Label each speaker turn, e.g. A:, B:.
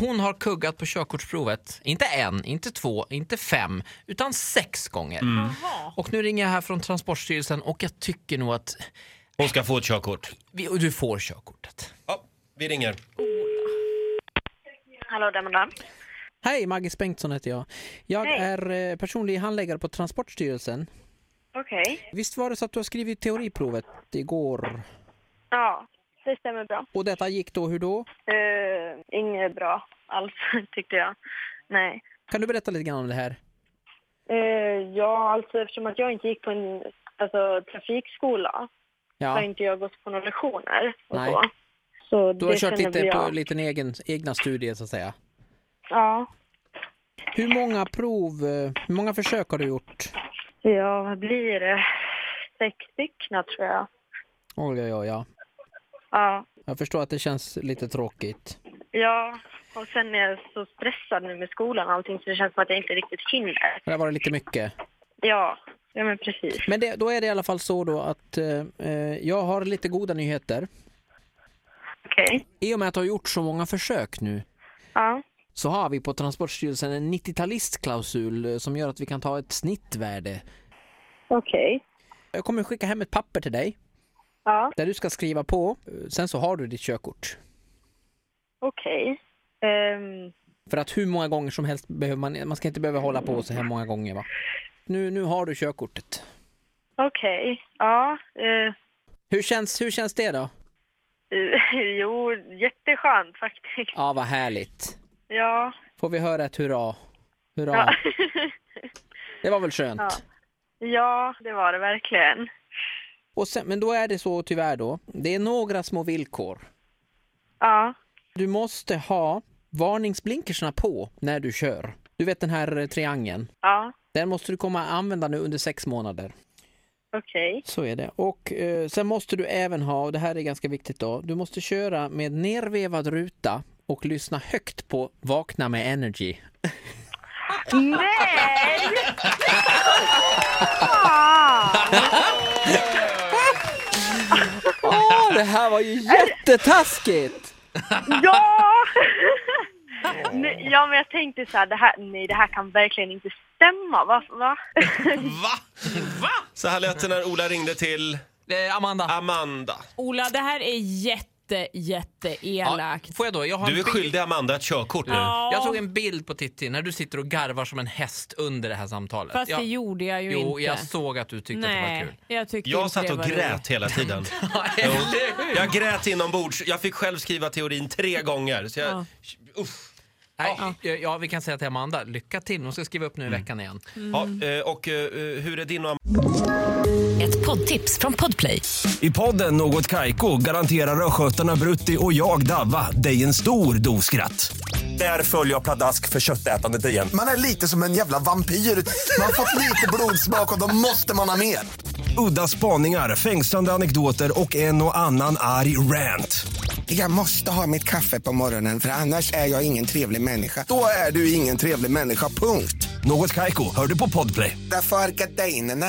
A: hon har kuggat på körkortsprovet, inte en, inte två, inte fem, utan sex gånger.
B: Mm.
A: Och nu ringer jag här från Transportstyrelsen och jag tycker nog att
C: Hon ska få ett körkort.
A: vi, och du får körkortet.
C: Ja, vi ringer.
D: Hallå, där man
B: Hej, Maggis Bengtsson heter jag. Jag
D: Hej.
B: är eh, personlig handläggare på Transportstyrelsen.
D: Okej.
B: Visst var det så att du har skrivit teoriprovet igår?
D: Ja, det stämmer bra.
B: Och detta gick då hur då?
D: Eh, inget bra alls, tyckte jag. Nej.
B: Kan du berätta lite grann om det här?
D: Eh, ja, alltså eftersom att jag inte gick på en alltså, trafikskola så har
B: Ja,
D: inte jag gått på några lektioner och
B: Nej.
D: så. så
B: du har
D: det
B: kört
D: känner väl
B: lite på
D: jag.
B: lite egen, egna studier så att säga.
D: Ja.
B: Hur många prov, eh, hur många försök har du gjort?
D: ja, vad blir det? Sex stycken tror jag.
B: Oj, oj, oj, ja.
D: Ja.
B: Jag förstår att det känns lite tråkigt.
D: ja, och sen är jag så stressad nu med skolan och allting så det känns som att jag inte riktigt hinner.
B: Det har varit lite mycket.
D: Ja, ja men precis.
B: Men det, då är det i alla fall så då att eh, eh, jag har lite goda nyheter.
D: Okej.
B: I och med att du har gjort så många försök nu
D: Ja.
B: så har vi på Transportstyrelsen en 90-talistklausul eh, som gör att vi kan ta ett snittvärde.
D: Okej.
B: Jag kommer skicka hem ett papper till dig
D: Ja.
B: där du ska skriva på. Eh, Sen så har du ditt körkort.
D: Okej. Ehm,
B: För att hur många gånger som helst behöver man, man ska inte behöva hålla på så här många gånger va. Nu, nu har du körkortet.
D: Okej. Ja. eh,
B: Hur känns, hur känns det då?
D: eh, jo, jätteskönt faktiskt.
B: Ja, vad härligt.
D: Ja.
B: Får vi höra ett hurra? Hurra.
D: Ja.
B: Det var väl skönt?
D: Ja. ja, det var det verkligen.
B: Och sen, men då är det så tyvärr då. Det är några små villkor.
D: Ja.
B: Du måste ha varningsblinkerserna på när du kör. Du vet den här eh, triangeln.
D: Ja.
B: Den måste du komma använda nu under sex månader.
D: Okej.
B: Så är det. Och eh, sen måste du även ha, och det här är ganska viktigt då, du måste köra med nervevad ruta och lyssna högt på Vakna med Energy.
D: Nej! Fan!
B: Åh, det här var ju jättetaskigt!
D: Ja! Nej, Ja, men jag tänkte så här, det här, nej det här kan verkligen inte stämma. Va? va?
C: Va? Va? Så här lät det när Ola ringde till
A: Eh, Amanda,
C: Amanda.
E: Ola, det här är jätte, jätte
A: ja,
E: elakt.
A: får jag då? Jag, har
C: Du är
A: en bild-
C: skyldig Amanda ett körkort nu.
A: jag tog en bild på Titti när du sitter och garvar som en häst under det här samtalet.
E: Fast
A: jag,
E: det gjorde jag ju
A: jo,
E: inte.
A: jag såg att du tyckte att det var kul.
E: Nej, jag tyckte
C: Jag
E: inte
C: satt
E: det
C: och
E: var
C: grät hela tiden.
A: Eller hur?
C: Jag grät inombords. Jag fick själv skriva teorin tre gånger. Så jag, uff.
A: Nej, ja. ja, vi kan säga till Amanda, lycka till. Hon ska skriva upp nu i Mm. veckan igen.
C: Ja, eh, och eh, hur är din och
F: Ett poddtips från Podplay.
G: I podden Något Kaiko garanterar östgötarna Brutti och jag, Davva, dig en stor dos skratt. Där följer jag pladask för köttätandet igen.
H: Man är lite som en jävla vampyr. Man har fått lite blodsmak och då måste man ha mer.
G: Udda spaningar, fängslande anekdoter och en och annan arg rant.
H: Jag måste ha mitt kaffe på morgonen för annars är jag ingen trevlig människa. Då är du ingen trevlig människa, punkt.
G: Något Kaiko, hör du på Podplay.
H: Därför arkadeinerna.